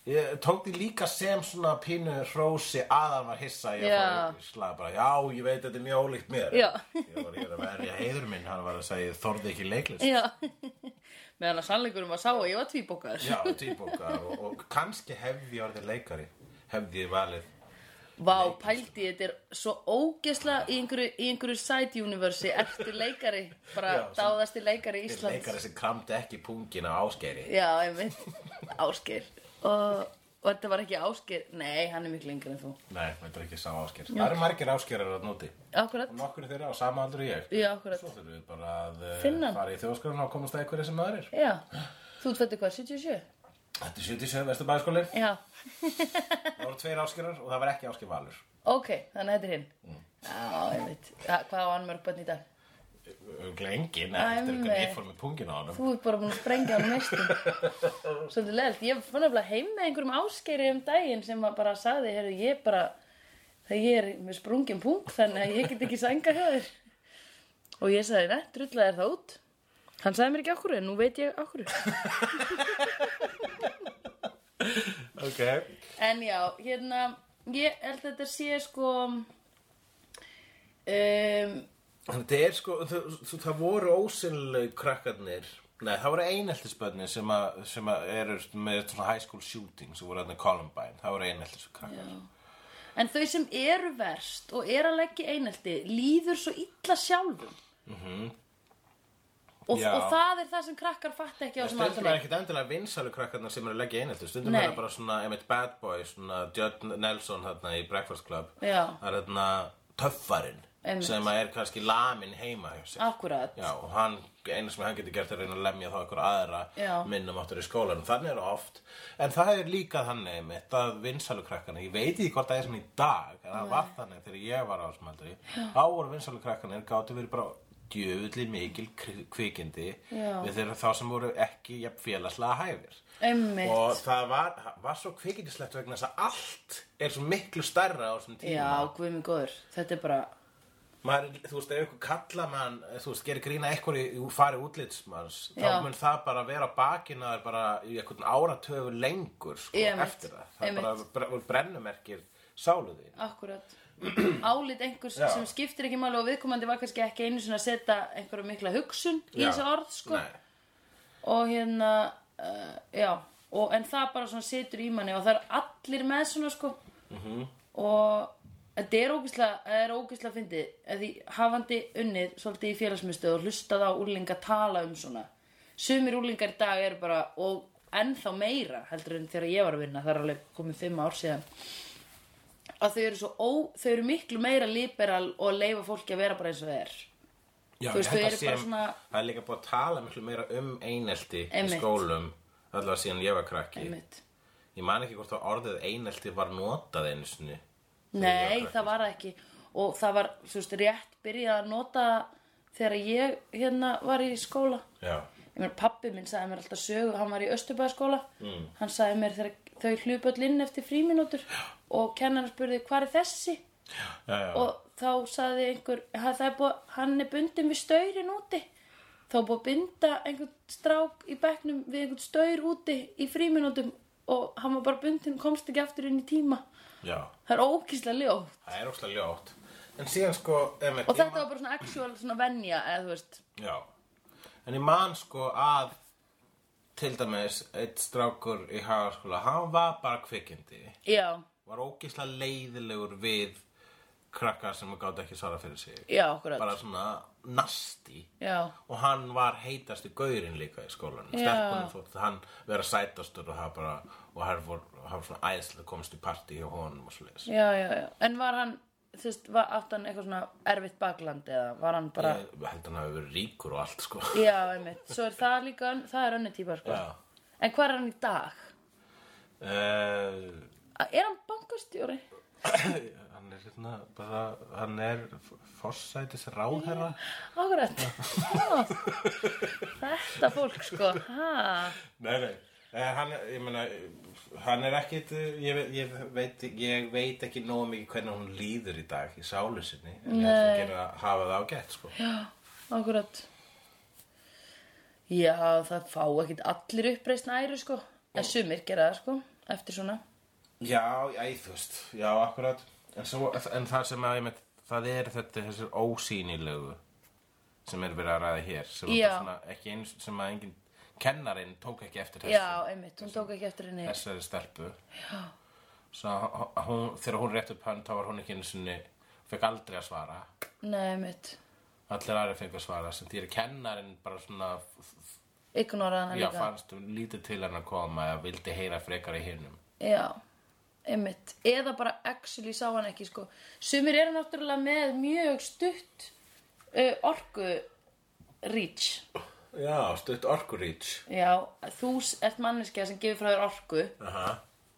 [SPEAKER 2] ég tók því líka sem svona pínu hrósi að hann var hissa ég,
[SPEAKER 1] Já.
[SPEAKER 2] fór- ég slaga bara, já, ég veit þetta er mjög ólíkt mér
[SPEAKER 1] Já.
[SPEAKER 2] ég var ég er að verja heiður minn hann var að segja, ég þorði ekki í leiklist
[SPEAKER 1] Já Meðan að sannleikunum var sá að ég var tvíbókaður
[SPEAKER 2] Já, tíbókar og, og kannski hefði ég orðið leikari hefði ég valið
[SPEAKER 1] Vá, pældi, þetta er svo ógesla í einhverju, í einhverju side universi eftir leikari, bara
[SPEAKER 2] Já, sem-
[SPEAKER 1] dáðasti leikari
[SPEAKER 2] Ég er
[SPEAKER 1] Íslands.
[SPEAKER 2] leikari sem kramdi ekki pungin á áskeri
[SPEAKER 1] Já, ég veit, Ásgeir. Og, og þetta var ekki Ásgeir, nei, hann er miklu yngri en þú.
[SPEAKER 2] Nei, þetta er ekki sá ásker Það eru margir áskerar að núti
[SPEAKER 1] Akkurat,
[SPEAKER 2] og nokkur þeirra á sama aldur og ég
[SPEAKER 1] já, akkurat.
[SPEAKER 2] Svo þurfum við bara að eh,
[SPEAKER 1] Finna.
[SPEAKER 2] fara í þjóðskorun og komast að einhverja sem það er
[SPEAKER 1] Já, þú tvættu hvað, 77?
[SPEAKER 2] Þetta er 77 Vesturbæðaskóli
[SPEAKER 1] Já,
[SPEAKER 2] Það voru tveir áskerar og það var ekki ásker valur
[SPEAKER 1] ok, þannig að þetta er hinn.
[SPEAKER 2] Mm.
[SPEAKER 1] Já, ég veit, Ha, hvað á hann mörg bönn í dag?
[SPEAKER 2] Glengin, eftir
[SPEAKER 1] Æmi.
[SPEAKER 2] hvernig ég fór með pungin á honum
[SPEAKER 1] Þú ert bara búin að sprengja hann mestum. Svolítið leðilt. Ég fann nefnilega heim með einhverjum áskeiri um daginn sem að bara sagði, heyrðu, ég bara, þegar ég er með sprungin punkt þannig að ég get ekki sænga hjá þér. Og ég sagði, nett, drullar þér það út. Hann sagði mér ekki okkur, en nú veit ég okkur.
[SPEAKER 2] Ok
[SPEAKER 1] En já, hérna, ég held að þetta sé sko, um,
[SPEAKER 2] Þetta er sko, það, það voru ósynlegu krakkarnir Nei, það voru eineltisbönni sem, að- sem að eru með svona high school shooting sem voru þarna í Columbine, það voru eineltiskrakkar
[SPEAKER 1] en þau sem eru verst og eru að leggja í einelti líður svo illa sjálfum. Og,
[SPEAKER 2] Já.
[SPEAKER 1] og það er það sem krakkar fatta ekki á sem
[SPEAKER 2] Stundum er
[SPEAKER 1] aldrei.
[SPEAKER 2] ekkit endilega vinsalu krakkarnar sem eru að leggja einelti Stundum
[SPEAKER 1] Nei.
[SPEAKER 2] er það bara svona, einmitt bad boy, svona Judd Nelson þarna í Breakfast Club
[SPEAKER 1] Já.
[SPEAKER 2] Það er þarna töffarinn
[SPEAKER 1] Einmitt.
[SPEAKER 2] sem að er kannski lamin heima hjá sér.
[SPEAKER 1] Akkurat.
[SPEAKER 2] Já, og hann, einu sem hann getur gert er að reyna að lemja þá einhverja aðra
[SPEAKER 1] Já.
[SPEAKER 2] minnumáttur í skólanum. Þannig er það oft, en það er líka þannig mitt að vinsalukrakkarnir, ég veit ekki hvort það er svona í dag, en það var þannig þegar ég var á þessum aldri, þá voru vinsalukrakkarnir gátu verið bara djöfulli mikil kri- kvikindi
[SPEAKER 1] Já.
[SPEAKER 2] við þeirra þá sem voru ekki jafn félagslega hæfir.
[SPEAKER 1] Einmitt.
[SPEAKER 2] Og það var, var svo kvikindislegt vegna þess að allt er svo miklu stærra á þessum tíma
[SPEAKER 1] Já, guð minn góður. Þetta er bara...
[SPEAKER 2] maður, þú veist, ef ykkur kalla mann þú veist, gerir grína eitthvað í í fari útlitsmanns þá
[SPEAKER 1] Já.
[SPEAKER 2] mun það bara vera bakinn að það er bara í einhvern áratöfu lengur sko,
[SPEAKER 1] Ég mitt.
[SPEAKER 2] eftir það, það
[SPEAKER 1] Ég
[SPEAKER 2] er bara bre- voru brennumerkir sáluði
[SPEAKER 1] Akkurat Álit einhvers
[SPEAKER 2] Já.
[SPEAKER 1] sem skiptir ekki máli og viðkomandi var kannski ekki einu svona að setja einhverja mikla hugsun í þessi orð sko. og hérna uh, já, og, en það bara svona situr í manni og það er allir með svona sko. -hmm. og þetta er ógislega, er ógislega fyndið að því hafandi unnið svolítið í félagsmyndstöð og hlustað á úlinga tala um svona sumir úlingar í dag eru bara og ennþá meira heldur en þegar ég var að vinna það er alveg komið fimm ár síðan að þau eru svo ó, þau eru miklu meira liberal og leifa fólki að vera bara eins og það er
[SPEAKER 2] Já,
[SPEAKER 1] Þú veist, þau
[SPEAKER 2] ég held að
[SPEAKER 1] eru bara
[SPEAKER 2] sé- um-
[SPEAKER 1] svona-
[SPEAKER 2] það er líka búið að tala miklu meira um einelti í
[SPEAKER 1] Einmitt.
[SPEAKER 2] skólum allavega síðan ég var krakki
[SPEAKER 1] einmitt
[SPEAKER 2] ég man ekki hvort að orðið einelti var notað einu sinni Þegar ég
[SPEAKER 1] Nei,
[SPEAKER 2] var
[SPEAKER 1] það var það ekki og það var, þú veist, rétt byrjað að nota þegar ég hérna var í skóla
[SPEAKER 2] krakki. Já.
[SPEAKER 1] ég meina, pappi minn sagði mér alltaf sögu hann var í Östubæðaskóla mm. hann sagði mér þegar þau hlupu öll inn eftir fríminútur og kennarar spurði hvað er þessi
[SPEAKER 2] Já, já.
[SPEAKER 1] og þá sagði einhver "Ha, það er búið, hann er bundin við staurin úti þá er búið að binda einhvern strák í bekknum við einhvern staur úti í fríminútum og hann var bara bundin, komst ekki aftur inn í tíma
[SPEAKER 2] já,
[SPEAKER 1] það er ókíslega ljótt
[SPEAKER 2] það er óslega ljótt en síðan sko einmitt,
[SPEAKER 1] Og
[SPEAKER 2] ég
[SPEAKER 1] þetta var bara svona actual svona venja eða þú veist
[SPEAKER 2] Já, en ég man sko að til dæmis eitt strákur í hagaskóla, hann var bara kvikindi,
[SPEAKER 1] Já,
[SPEAKER 2] var ógislega leiðilegur við krakkar sem gátt ekki svara fyrir sig.
[SPEAKER 1] já, akkurat
[SPEAKER 2] Bara svona nasti
[SPEAKER 1] Já,
[SPEAKER 2] og hann var heitasti gaurinn líka í skólanum.
[SPEAKER 1] Já.
[SPEAKER 2] Stelpunum þótt hann vera sætastur og hann bara, og hann var, hann var svona æðslega komist í partí hjá honum og svo leiðis.
[SPEAKER 1] já, já, já En var hann, þú veist, var átt hann eitthvað svona erfitt bakland eða var hann bara
[SPEAKER 2] Ég held að hann hafi verið ríkur og allt sko.
[SPEAKER 1] Já, einmitt, svo er það líka, önn- það er önnu típa sko
[SPEAKER 2] Já.
[SPEAKER 1] En hvað er hann í dag?
[SPEAKER 2] Uh,
[SPEAKER 1] Er hann bankastjóri?
[SPEAKER 2] hann er hérna bara, hann er forsætis ráðherra
[SPEAKER 1] Akkurat Ó, Þetta fólk sko, ha
[SPEAKER 2] nei, nei, eh, hann, er- ég meina hann er ekkit eh, ég, ve- ég, veit, ég veit ekki nóg mikið hvernig hún líður í dag í sálu sinni en ég ætla að gera að hafa það á gett sko.
[SPEAKER 1] Akkurat Já, það fá ekkit allir uppreisn æru sko En sumir gera það sko, eftir svona
[SPEAKER 2] já, já, þú veist, já, akkurat en, svo, en það sem að ég með það er þetta, þessir ósýnilegu sem er verið að ræða hér sem, er
[SPEAKER 1] Já.
[SPEAKER 2] bara svona, ekki einu, sem að engin kennarinn tók ekki eftir þessu
[SPEAKER 1] Já, einmitt, hún tók ekki eftir henni
[SPEAKER 2] þessari stelpu já. svo h- h- hún, þegar hún rétt upp hönd þá var hún ekki einu sinni fekk aldrei að svara
[SPEAKER 1] Nei, mitt.
[SPEAKER 2] allir aðri fekk að svara sem því er kennarin bara svona f- f-
[SPEAKER 1] Ignoraði hana
[SPEAKER 2] já,
[SPEAKER 1] líka.
[SPEAKER 2] fannst hún lítið til henn að koma eða vildi heyra frekar í hinnum
[SPEAKER 1] Já, einmitt. Eða bara actually sá hann ekki, sko. Sumir eru náttúrulega með mjög stutt uh, orku reach.
[SPEAKER 2] já, stutt orkurýts
[SPEAKER 1] Já, þú s- ert manneskja sem gefur frá þér orku.
[SPEAKER 2] aha,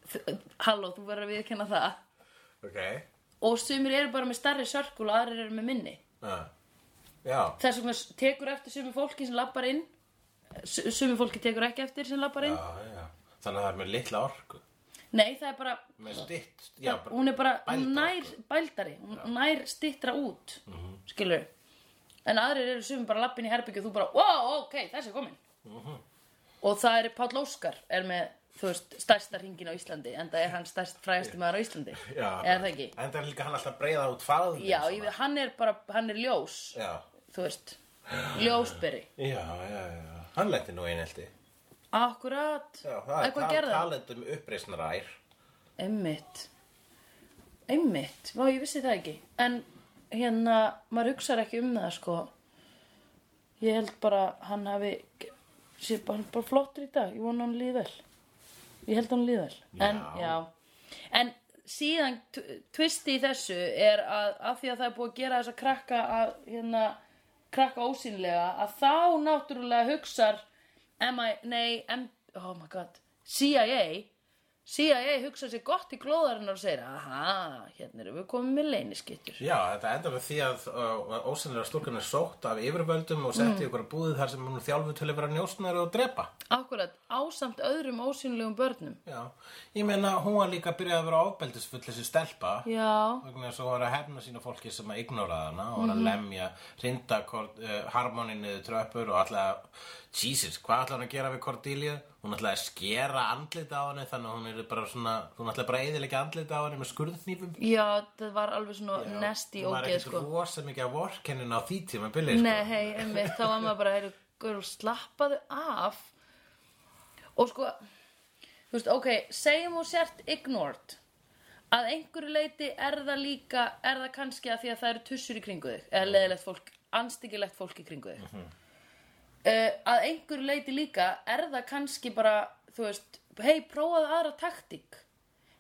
[SPEAKER 1] Þ- Halló, þú verður að viðkenna það.
[SPEAKER 2] ok
[SPEAKER 1] Og sumir eru bara með starri sörkul og aðrir eru með minni.
[SPEAKER 2] já, Ah. já.
[SPEAKER 1] Þess vegna s- tekur eftir sumir fólki sem lappar inn. S- Sumir fólki tekur ekki eftir sem lappar inn.
[SPEAKER 2] Já, já. þannig að það er með litla orku
[SPEAKER 1] Nei, það er bara,
[SPEAKER 2] með stutt já, bara,
[SPEAKER 1] hún er bara, hún
[SPEAKER 2] bælda
[SPEAKER 1] nær
[SPEAKER 2] orku.
[SPEAKER 1] bældari, hún nær stittra út, mm
[SPEAKER 2] Mhm.
[SPEAKER 1] skilur En aðrir eru sumum bara lappin í herbyggju og þú bara, wow, ok, þessi er komin.
[SPEAKER 2] Mhm.
[SPEAKER 1] Og það er Páll Óskar, er með, þú veist, stærsta ringin á Íslandi, en það er hann stærst frægasti maður á Íslandi.
[SPEAKER 2] já,
[SPEAKER 1] er það ekki?
[SPEAKER 2] en það er líka hann alltaf breiða út fáðin
[SPEAKER 1] Já, ég, veit- hann er bara, hann er ljós,
[SPEAKER 2] já,
[SPEAKER 1] þú veist, ljósberi.
[SPEAKER 2] já, já, já hann leti nú einhelti
[SPEAKER 1] Akkurat,
[SPEAKER 2] Já, það er
[SPEAKER 1] eitthvað
[SPEAKER 2] tal,
[SPEAKER 1] gerða.
[SPEAKER 2] talað um uppreisnarær.
[SPEAKER 1] Einmitt Einmitt, vá ég vissi það ekki En hérna, maður hugsar ekki um það sko Ég held bara hann hafi sé bara, hann er bara flottur í dag, ég vona hann líði vel Ég held hann líði vel En,
[SPEAKER 2] Já.
[SPEAKER 1] já En síðan t- twisti í þessu er að af því að það er búið að gera þess að krakka að hérna krakka ósýnilega að þá náttúrulega hugsar MI, nei, M, oh my god CIA CIA hugsa sér gott í glóðarinnar og segir aha, hérna erum við komin með leyniskittur
[SPEAKER 2] Já, þetta endar með því að uh, ósynlega stúlkan er sótt af yfirvöldum og sett í ykkur búið þar sem hún þjálfu til að vera njósnari og drepa.
[SPEAKER 1] akkurat ásamt öðrum ósýnilegum börnum
[SPEAKER 2] Já, ég meina hún var líka að byrja að vera ofbeldisfull þessi stelpa.
[SPEAKER 1] já,
[SPEAKER 2] Vegna þess að hún var að herna sína fólki sem að ignoraða hana og
[SPEAKER 1] Mhm.
[SPEAKER 2] var að lemja, rinda uh, harmoninu tröppur og alltaf, Jesus, hvað ætla hún að gera við Cordelia? Hún ætlaði að skera andlit á henni þannig að hún er bara svona, hún ætlaði bara að eyðilega andlit á henni með skurðnýfum.
[SPEAKER 1] já, það var alveg svona nesti
[SPEAKER 2] Hún var
[SPEAKER 1] ógeð
[SPEAKER 2] ekkert
[SPEAKER 1] sko
[SPEAKER 2] rosa mikið að vorkennin á því tíma billið sko.
[SPEAKER 1] Nei, hei, einmitt, þá var maður bara, heyrðu, girl, slappaðu af og sko, þú veist, ok, segjum og sért ignored að einhverju leiti er það líka, er það kannski að því að það eru tussur í kringu þig eða leðilegt fólk, anstyggilegt fólk í kringu þig uh, að einhverju leiti líka er það kannski bara, þú veist, hei, prófaðu aðra taktík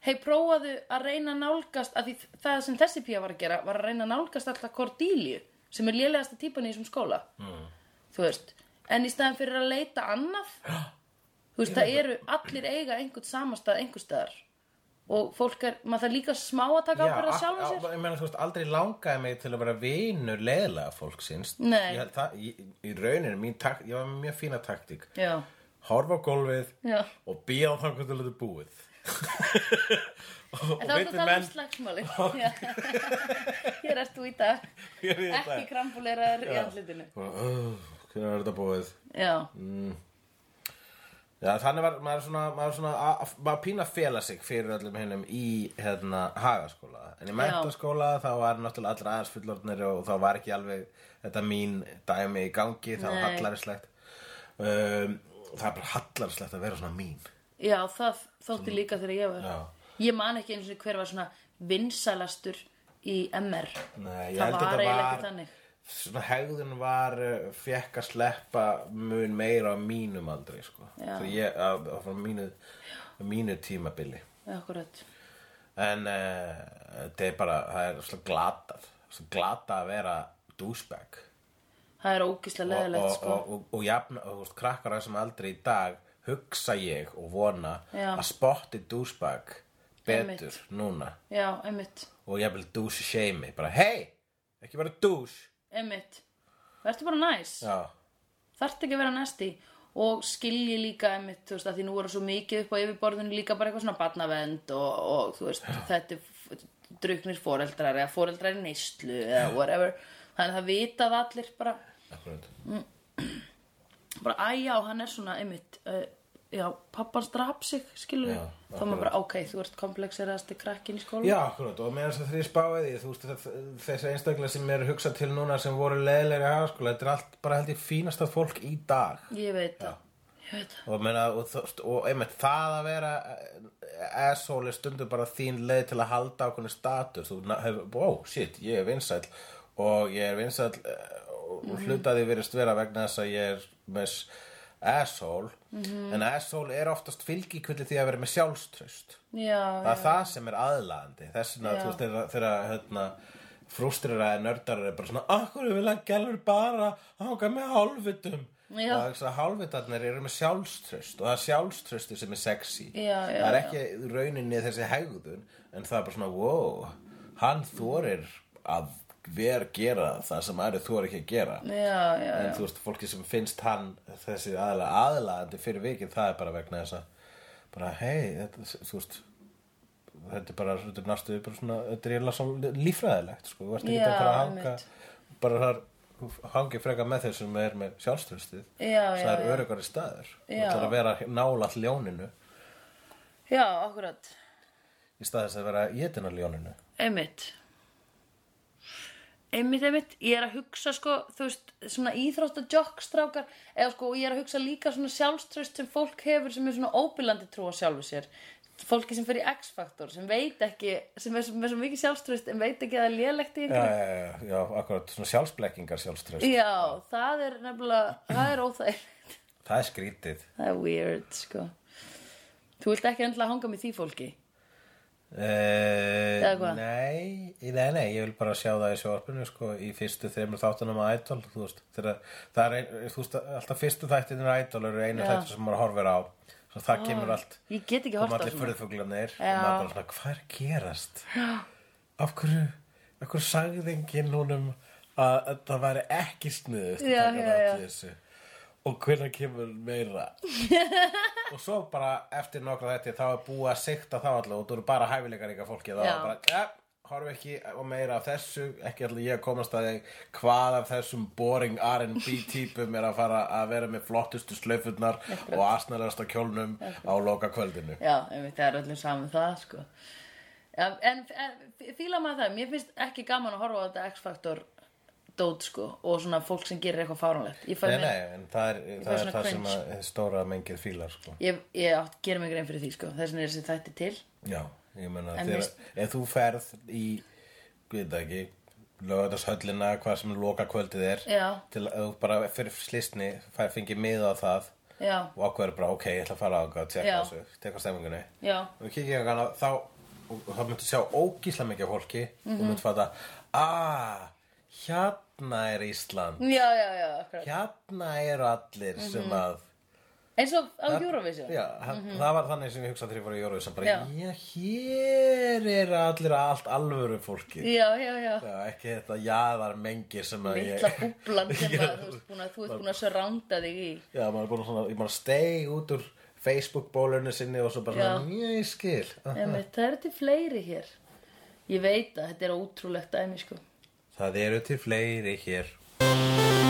[SPEAKER 1] hei, prófaðu að reyna að nálgast að því það sem þessi pía var að gera var að reyna að nálgast alltaf Cordelia sem er lélegasta típan í þessum skóla mm. þú veist, en í staðan fyrir að leita annað þú veist, það eru allir eiga einhvern samastað einhvers staðar og fólk er, maður þarf líka smá að taka ábyrða sjálfum
[SPEAKER 2] á-
[SPEAKER 1] sér
[SPEAKER 2] á- ah, ég meina, þú veist, aldrei langaði mig til að vera vinur leðilega fólksins.
[SPEAKER 1] Nei.
[SPEAKER 2] Ég, held það, ég, í rauninu, mín tak, ég var með mjög fína taktík.
[SPEAKER 1] já,
[SPEAKER 2] Horfa á gólfið
[SPEAKER 1] já,
[SPEAKER 2] og býja á þangar til þetta er búið. og
[SPEAKER 1] en þá er
[SPEAKER 2] veitir
[SPEAKER 1] þetta
[SPEAKER 2] menn,
[SPEAKER 1] alveg slagsmáli hér ert þú í dag
[SPEAKER 2] Hér er ég í
[SPEAKER 1] ekki
[SPEAKER 2] dag.
[SPEAKER 1] krambuleraður í andlitinu
[SPEAKER 2] og, "Ugh, hvenær er þetta búið?
[SPEAKER 1] já,
[SPEAKER 2] Já, þannig var maður svona, maður svona að- að- maður pína að fela sig fyrir öllum hinnum í hérna, hagaskóla en í mentaskóla þá var náttúrulega allra aðeins fullorðnir og þá var ekki alveg þetta mín dæmi í gangi það var
[SPEAKER 1] Nei.
[SPEAKER 2] hallarislegt um, það er bara hallarislegt að vera svona mín
[SPEAKER 1] já, það þótti líka þegar ég var
[SPEAKER 2] Já.
[SPEAKER 1] ég man ekki eins og hver var svona vinsalastur í MR
[SPEAKER 2] Nei, ég
[SPEAKER 1] það
[SPEAKER 2] held
[SPEAKER 1] var
[SPEAKER 2] að þetta
[SPEAKER 1] eiginlega
[SPEAKER 2] var
[SPEAKER 1] ekki þannig
[SPEAKER 2] svona hegðun var uh, fekk að sleppa mun meira á mínum aldrei sko.
[SPEAKER 1] Já.
[SPEAKER 2] Svo ég, á, á, á, mínu, á mínu tímabili
[SPEAKER 1] akkurat
[SPEAKER 2] En uh, þetta er bara, það er svo glatað, svo glatað að vera douchebag.
[SPEAKER 1] Það er ógislega leðilegt
[SPEAKER 2] og,
[SPEAKER 1] sko.
[SPEAKER 2] og, og, og jafn, og, þú veist, krakkar á þessum aldrei í dag hugsa ég og vona
[SPEAKER 1] Já.
[SPEAKER 2] að spotti douchebag betur
[SPEAKER 1] Einmitt.
[SPEAKER 2] núna.
[SPEAKER 1] Já, einmitt,
[SPEAKER 2] Og ég vil douche shame, bara hei, ekki bara douche.
[SPEAKER 1] einmitt. Vertu bara næs.
[SPEAKER 2] Já,
[SPEAKER 1] Þarft ekki að vera næsti. Og skilji líka einmitt, þú veist, að því nú voru svo mikið upp á yfirborðinu líka bara eitthvað svona barnavend og, og þú veist, þetta er f- druknir foreldrar eða foreldrar í neyslu eða whatever. Þannig að það vitað allir bara,
[SPEAKER 2] akkurat.
[SPEAKER 1] bara æ já, hann er svona einmitt, uh, já, pappans drap sig, skilju.
[SPEAKER 2] Já,
[SPEAKER 1] Þá maður bara, ok, þú ert komplexeraðasti krakkin í skóla.
[SPEAKER 2] Já, akkurat, og meðan þess að því spáði því, þú veist, það- þessi einstaklega sem er hugsað til núna sem voru leðilegri að skóla, þetta er allt bara held ég fínasta fólk í dag.
[SPEAKER 1] Ég veit það. Ég veit það.
[SPEAKER 2] og, meina, og, þ- og einmitt það að vera eh, asshole er stundum bara þín leið til að halda ákveðni status þú na- hefur, wow, shit, ég er vinsæll og ég er vinsæll eh, og mm -hmm. hlutaði verist vera vegna þess að ég er með s- asshole en asshole er oftast fylgikvilli því að vera með sjálfströst
[SPEAKER 1] Já,
[SPEAKER 2] það er það sem er aðlaðandi þess vegna,
[SPEAKER 1] Já.
[SPEAKER 2] þú veist, þegar- þegar hérna, frústrera eða nördar er bara svona akkur vil hann gælur bara hanga með hálfitum
[SPEAKER 1] Já.
[SPEAKER 2] og þess að hálfitarnir eru með sjálfströst og það er sjálfströsti sem er sexy
[SPEAKER 1] Já, já,
[SPEAKER 2] það er ekki rauninni þessi hegðun en það er bara svona wow hann þorir að ver gera það sem aðri þorir ekki að gera
[SPEAKER 1] já, já,
[SPEAKER 2] en þú veist, fólki sem finnst hann þessi aðalega aðlaðandi fyrir vikið það er bara vegna þess að bara hei, þetta, þú veist þetta er bara, þetta er næstu bara svona, þetta er eiginlega svo lífræðilegt sko, þú ert ekki
[SPEAKER 1] Já,
[SPEAKER 2] að fara að hanga
[SPEAKER 1] einmitt.
[SPEAKER 2] bara þar hangi freka með þeir sem er með sjálfströstið
[SPEAKER 1] Já, já,
[SPEAKER 2] það er
[SPEAKER 1] já.
[SPEAKER 2] örugari staður þú
[SPEAKER 1] Já.
[SPEAKER 2] ætlar að vera nála ljóninu
[SPEAKER 1] já, akkurat,
[SPEAKER 2] í stað þess að vera étin á ljóninu
[SPEAKER 1] einmitt einmitt, einmitt ég er að hugsa sko, þú veist svona íþrótta jokkstrákar eða sko, og ég er að hugsa líka svona sjálfströst sem fólk hefur sem er svona óbillandi trú á sjálfu sér fólki sem fer í X-faktor sem veit ekki, sem er svo- með svo mikið sjálfströst en veit ekki að það er lélegt í
[SPEAKER 2] já,
[SPEAKER 1] einhverju
[SPEAKER 2] já, já, já, akkurat, svona sjálfsblekkingar sjálfströst
[SPEAKER 1] já, það er nefnilega það er óþægilegt,
[SPEAKER 2] það er skrítið
[SPEAKER 1] það er weird sko þú vilt ekki endla hanga með því fólki
[SPEAKER 2] Eða
[SPEAKER 1] hvað?
[SPEAKER 2] Eh, Nei, nei, nei, ég vil bara sjá það í sjóarpinu sko, í fyrstu þreymur þáttunum að Idol þú veist, þegar, það er ein, þú veist, alltaf fyrstu þættinir að Idol eru einu
[SPEAKER 1] Já. Ah.
[SPEAKER 2] þættir sem maður horfir á svo það kemur allt
[SPEAKER 1] Ég get ekki
[SPEAKER 2] koma
[SPEAKER 1] horft á
[SPEAKER 2] allir
[SPEAKER 1] svona
[SPEAKER 2] furðfuglanir og
[SPEAKER 1] Já.
[SPEAKER 2] maður bara svona, hvað er að gerast? Já. Af hverju, af hverju sagði enginn honum að, að það væri ekki sniðust
[SPEAKER 1] Já, já, já.
[SPEAKER 2] þessu og hvernig kemur meira og svo bara eftir nokkra þetta þá er búið að sikta þá allir og þú eru bara hæfileikar ykkar fólki þá
[SPEAKER 1] Já.
[SPEAKER 2] er bara, ja, horf ekki og meira af þessu, ekki allir ég að komast að þig hvað af þessum boring R&B típum er að fara að vera með flottustu slaufurnar og asnalegasta kjólnum á loka kvöldinu
[SPEAKER 1] Já, einmitt, það er öllum saman það sko Já, en, en fíla maður það, mér finnst ekki gaman að horfa á þetta X-Factor dót sko og svona fólk sem gerir eitthvað fáránlegt Ég fæ
[SPEAKER 2] Nei,
[SPEAKER 1] mér-
[SPEAKER 2] nei, en það er það, er
[SPEAKER 1] svona
[SPEAKER 2] það sem
[SPEAKER 1] cringe.
[SPEAKER 2] að hið stóra mengið fílar, sko.
[SPEAKER 1] Ég, ég átt, gerir mig grein fyrir því sko, þess vegna er þessi þætti til
[SPEAKER 2] Já, ég meina,
[SPEAKER 1] En
[SPEAKER 2] þegar,
[SPEAKER 1] veist-
[SPEAKER 2] ef þú ferð í, ég veit það ekki, lögatarsöllina, hvað sem loka kvöldið er,
[SPEAKER 1] Já.
[SPEAKER 2] til að þú bara fyrir slistni, fær fengið miða á það
[SPEAKER 1] Já,
[SPEAKER 2] og ákveður bara, ok, ég ætla að fara á það, tjekka
[SPEAKER 1] Já.
[SPEAKER 2] þessu, tjekka stemmingunni.
[SPEAKER 1] já,
[SPEAKER 2] Og þú kikið hérna, þá, og og þá myndu sjá ógísla mikið af fólki
[SPEAKER 1] Mhm.
[SPEAKER 2] og myndu fatta, ah, hérna er Ísland,
[SPEAKER 1] já, já, já akkurat.
[SPEAKER 2] hérna eru allir
[SPEAKER 1] Mhm.
[SPEAKER 2] sem að,
[SPEAKER 1] Eins og á Eurovision
[SPEAKER 2] Já, hann, það var þannig sem ég hugsaði þegar ég var í Eurovision bara,
[SPEAKER 1] Mhm. Já.
[SPEAKER 2] já, hér er allir allt alvöru fólki
[SPEAKER 1] já, já, já.
[SPEAKER 2] já, ekki þetta jaðar mengi sem að
[SPEAKER 1] litla
[SPEAKER 2] ég
[SPEAKER 1] búblan sem
[SPEAKER 2] Já.
[SPEAKER 1] að, þú veist búin að þú ert búin að surrounda þig í
[SPEAKER 2] já, maður er búin að svona, ég bara steig út úr Facebook bólunni sinni og svo bara
[SPEAKER 1] Já.
[SPEAKER 2] svona, "Njá, ég skil Aha.
[SPEAKER 1] Emi, það eru til fleiri hér ég veit að þetta er ótrúlegt dæmi sko
[SPEAKER 2] það eru til fleiri hér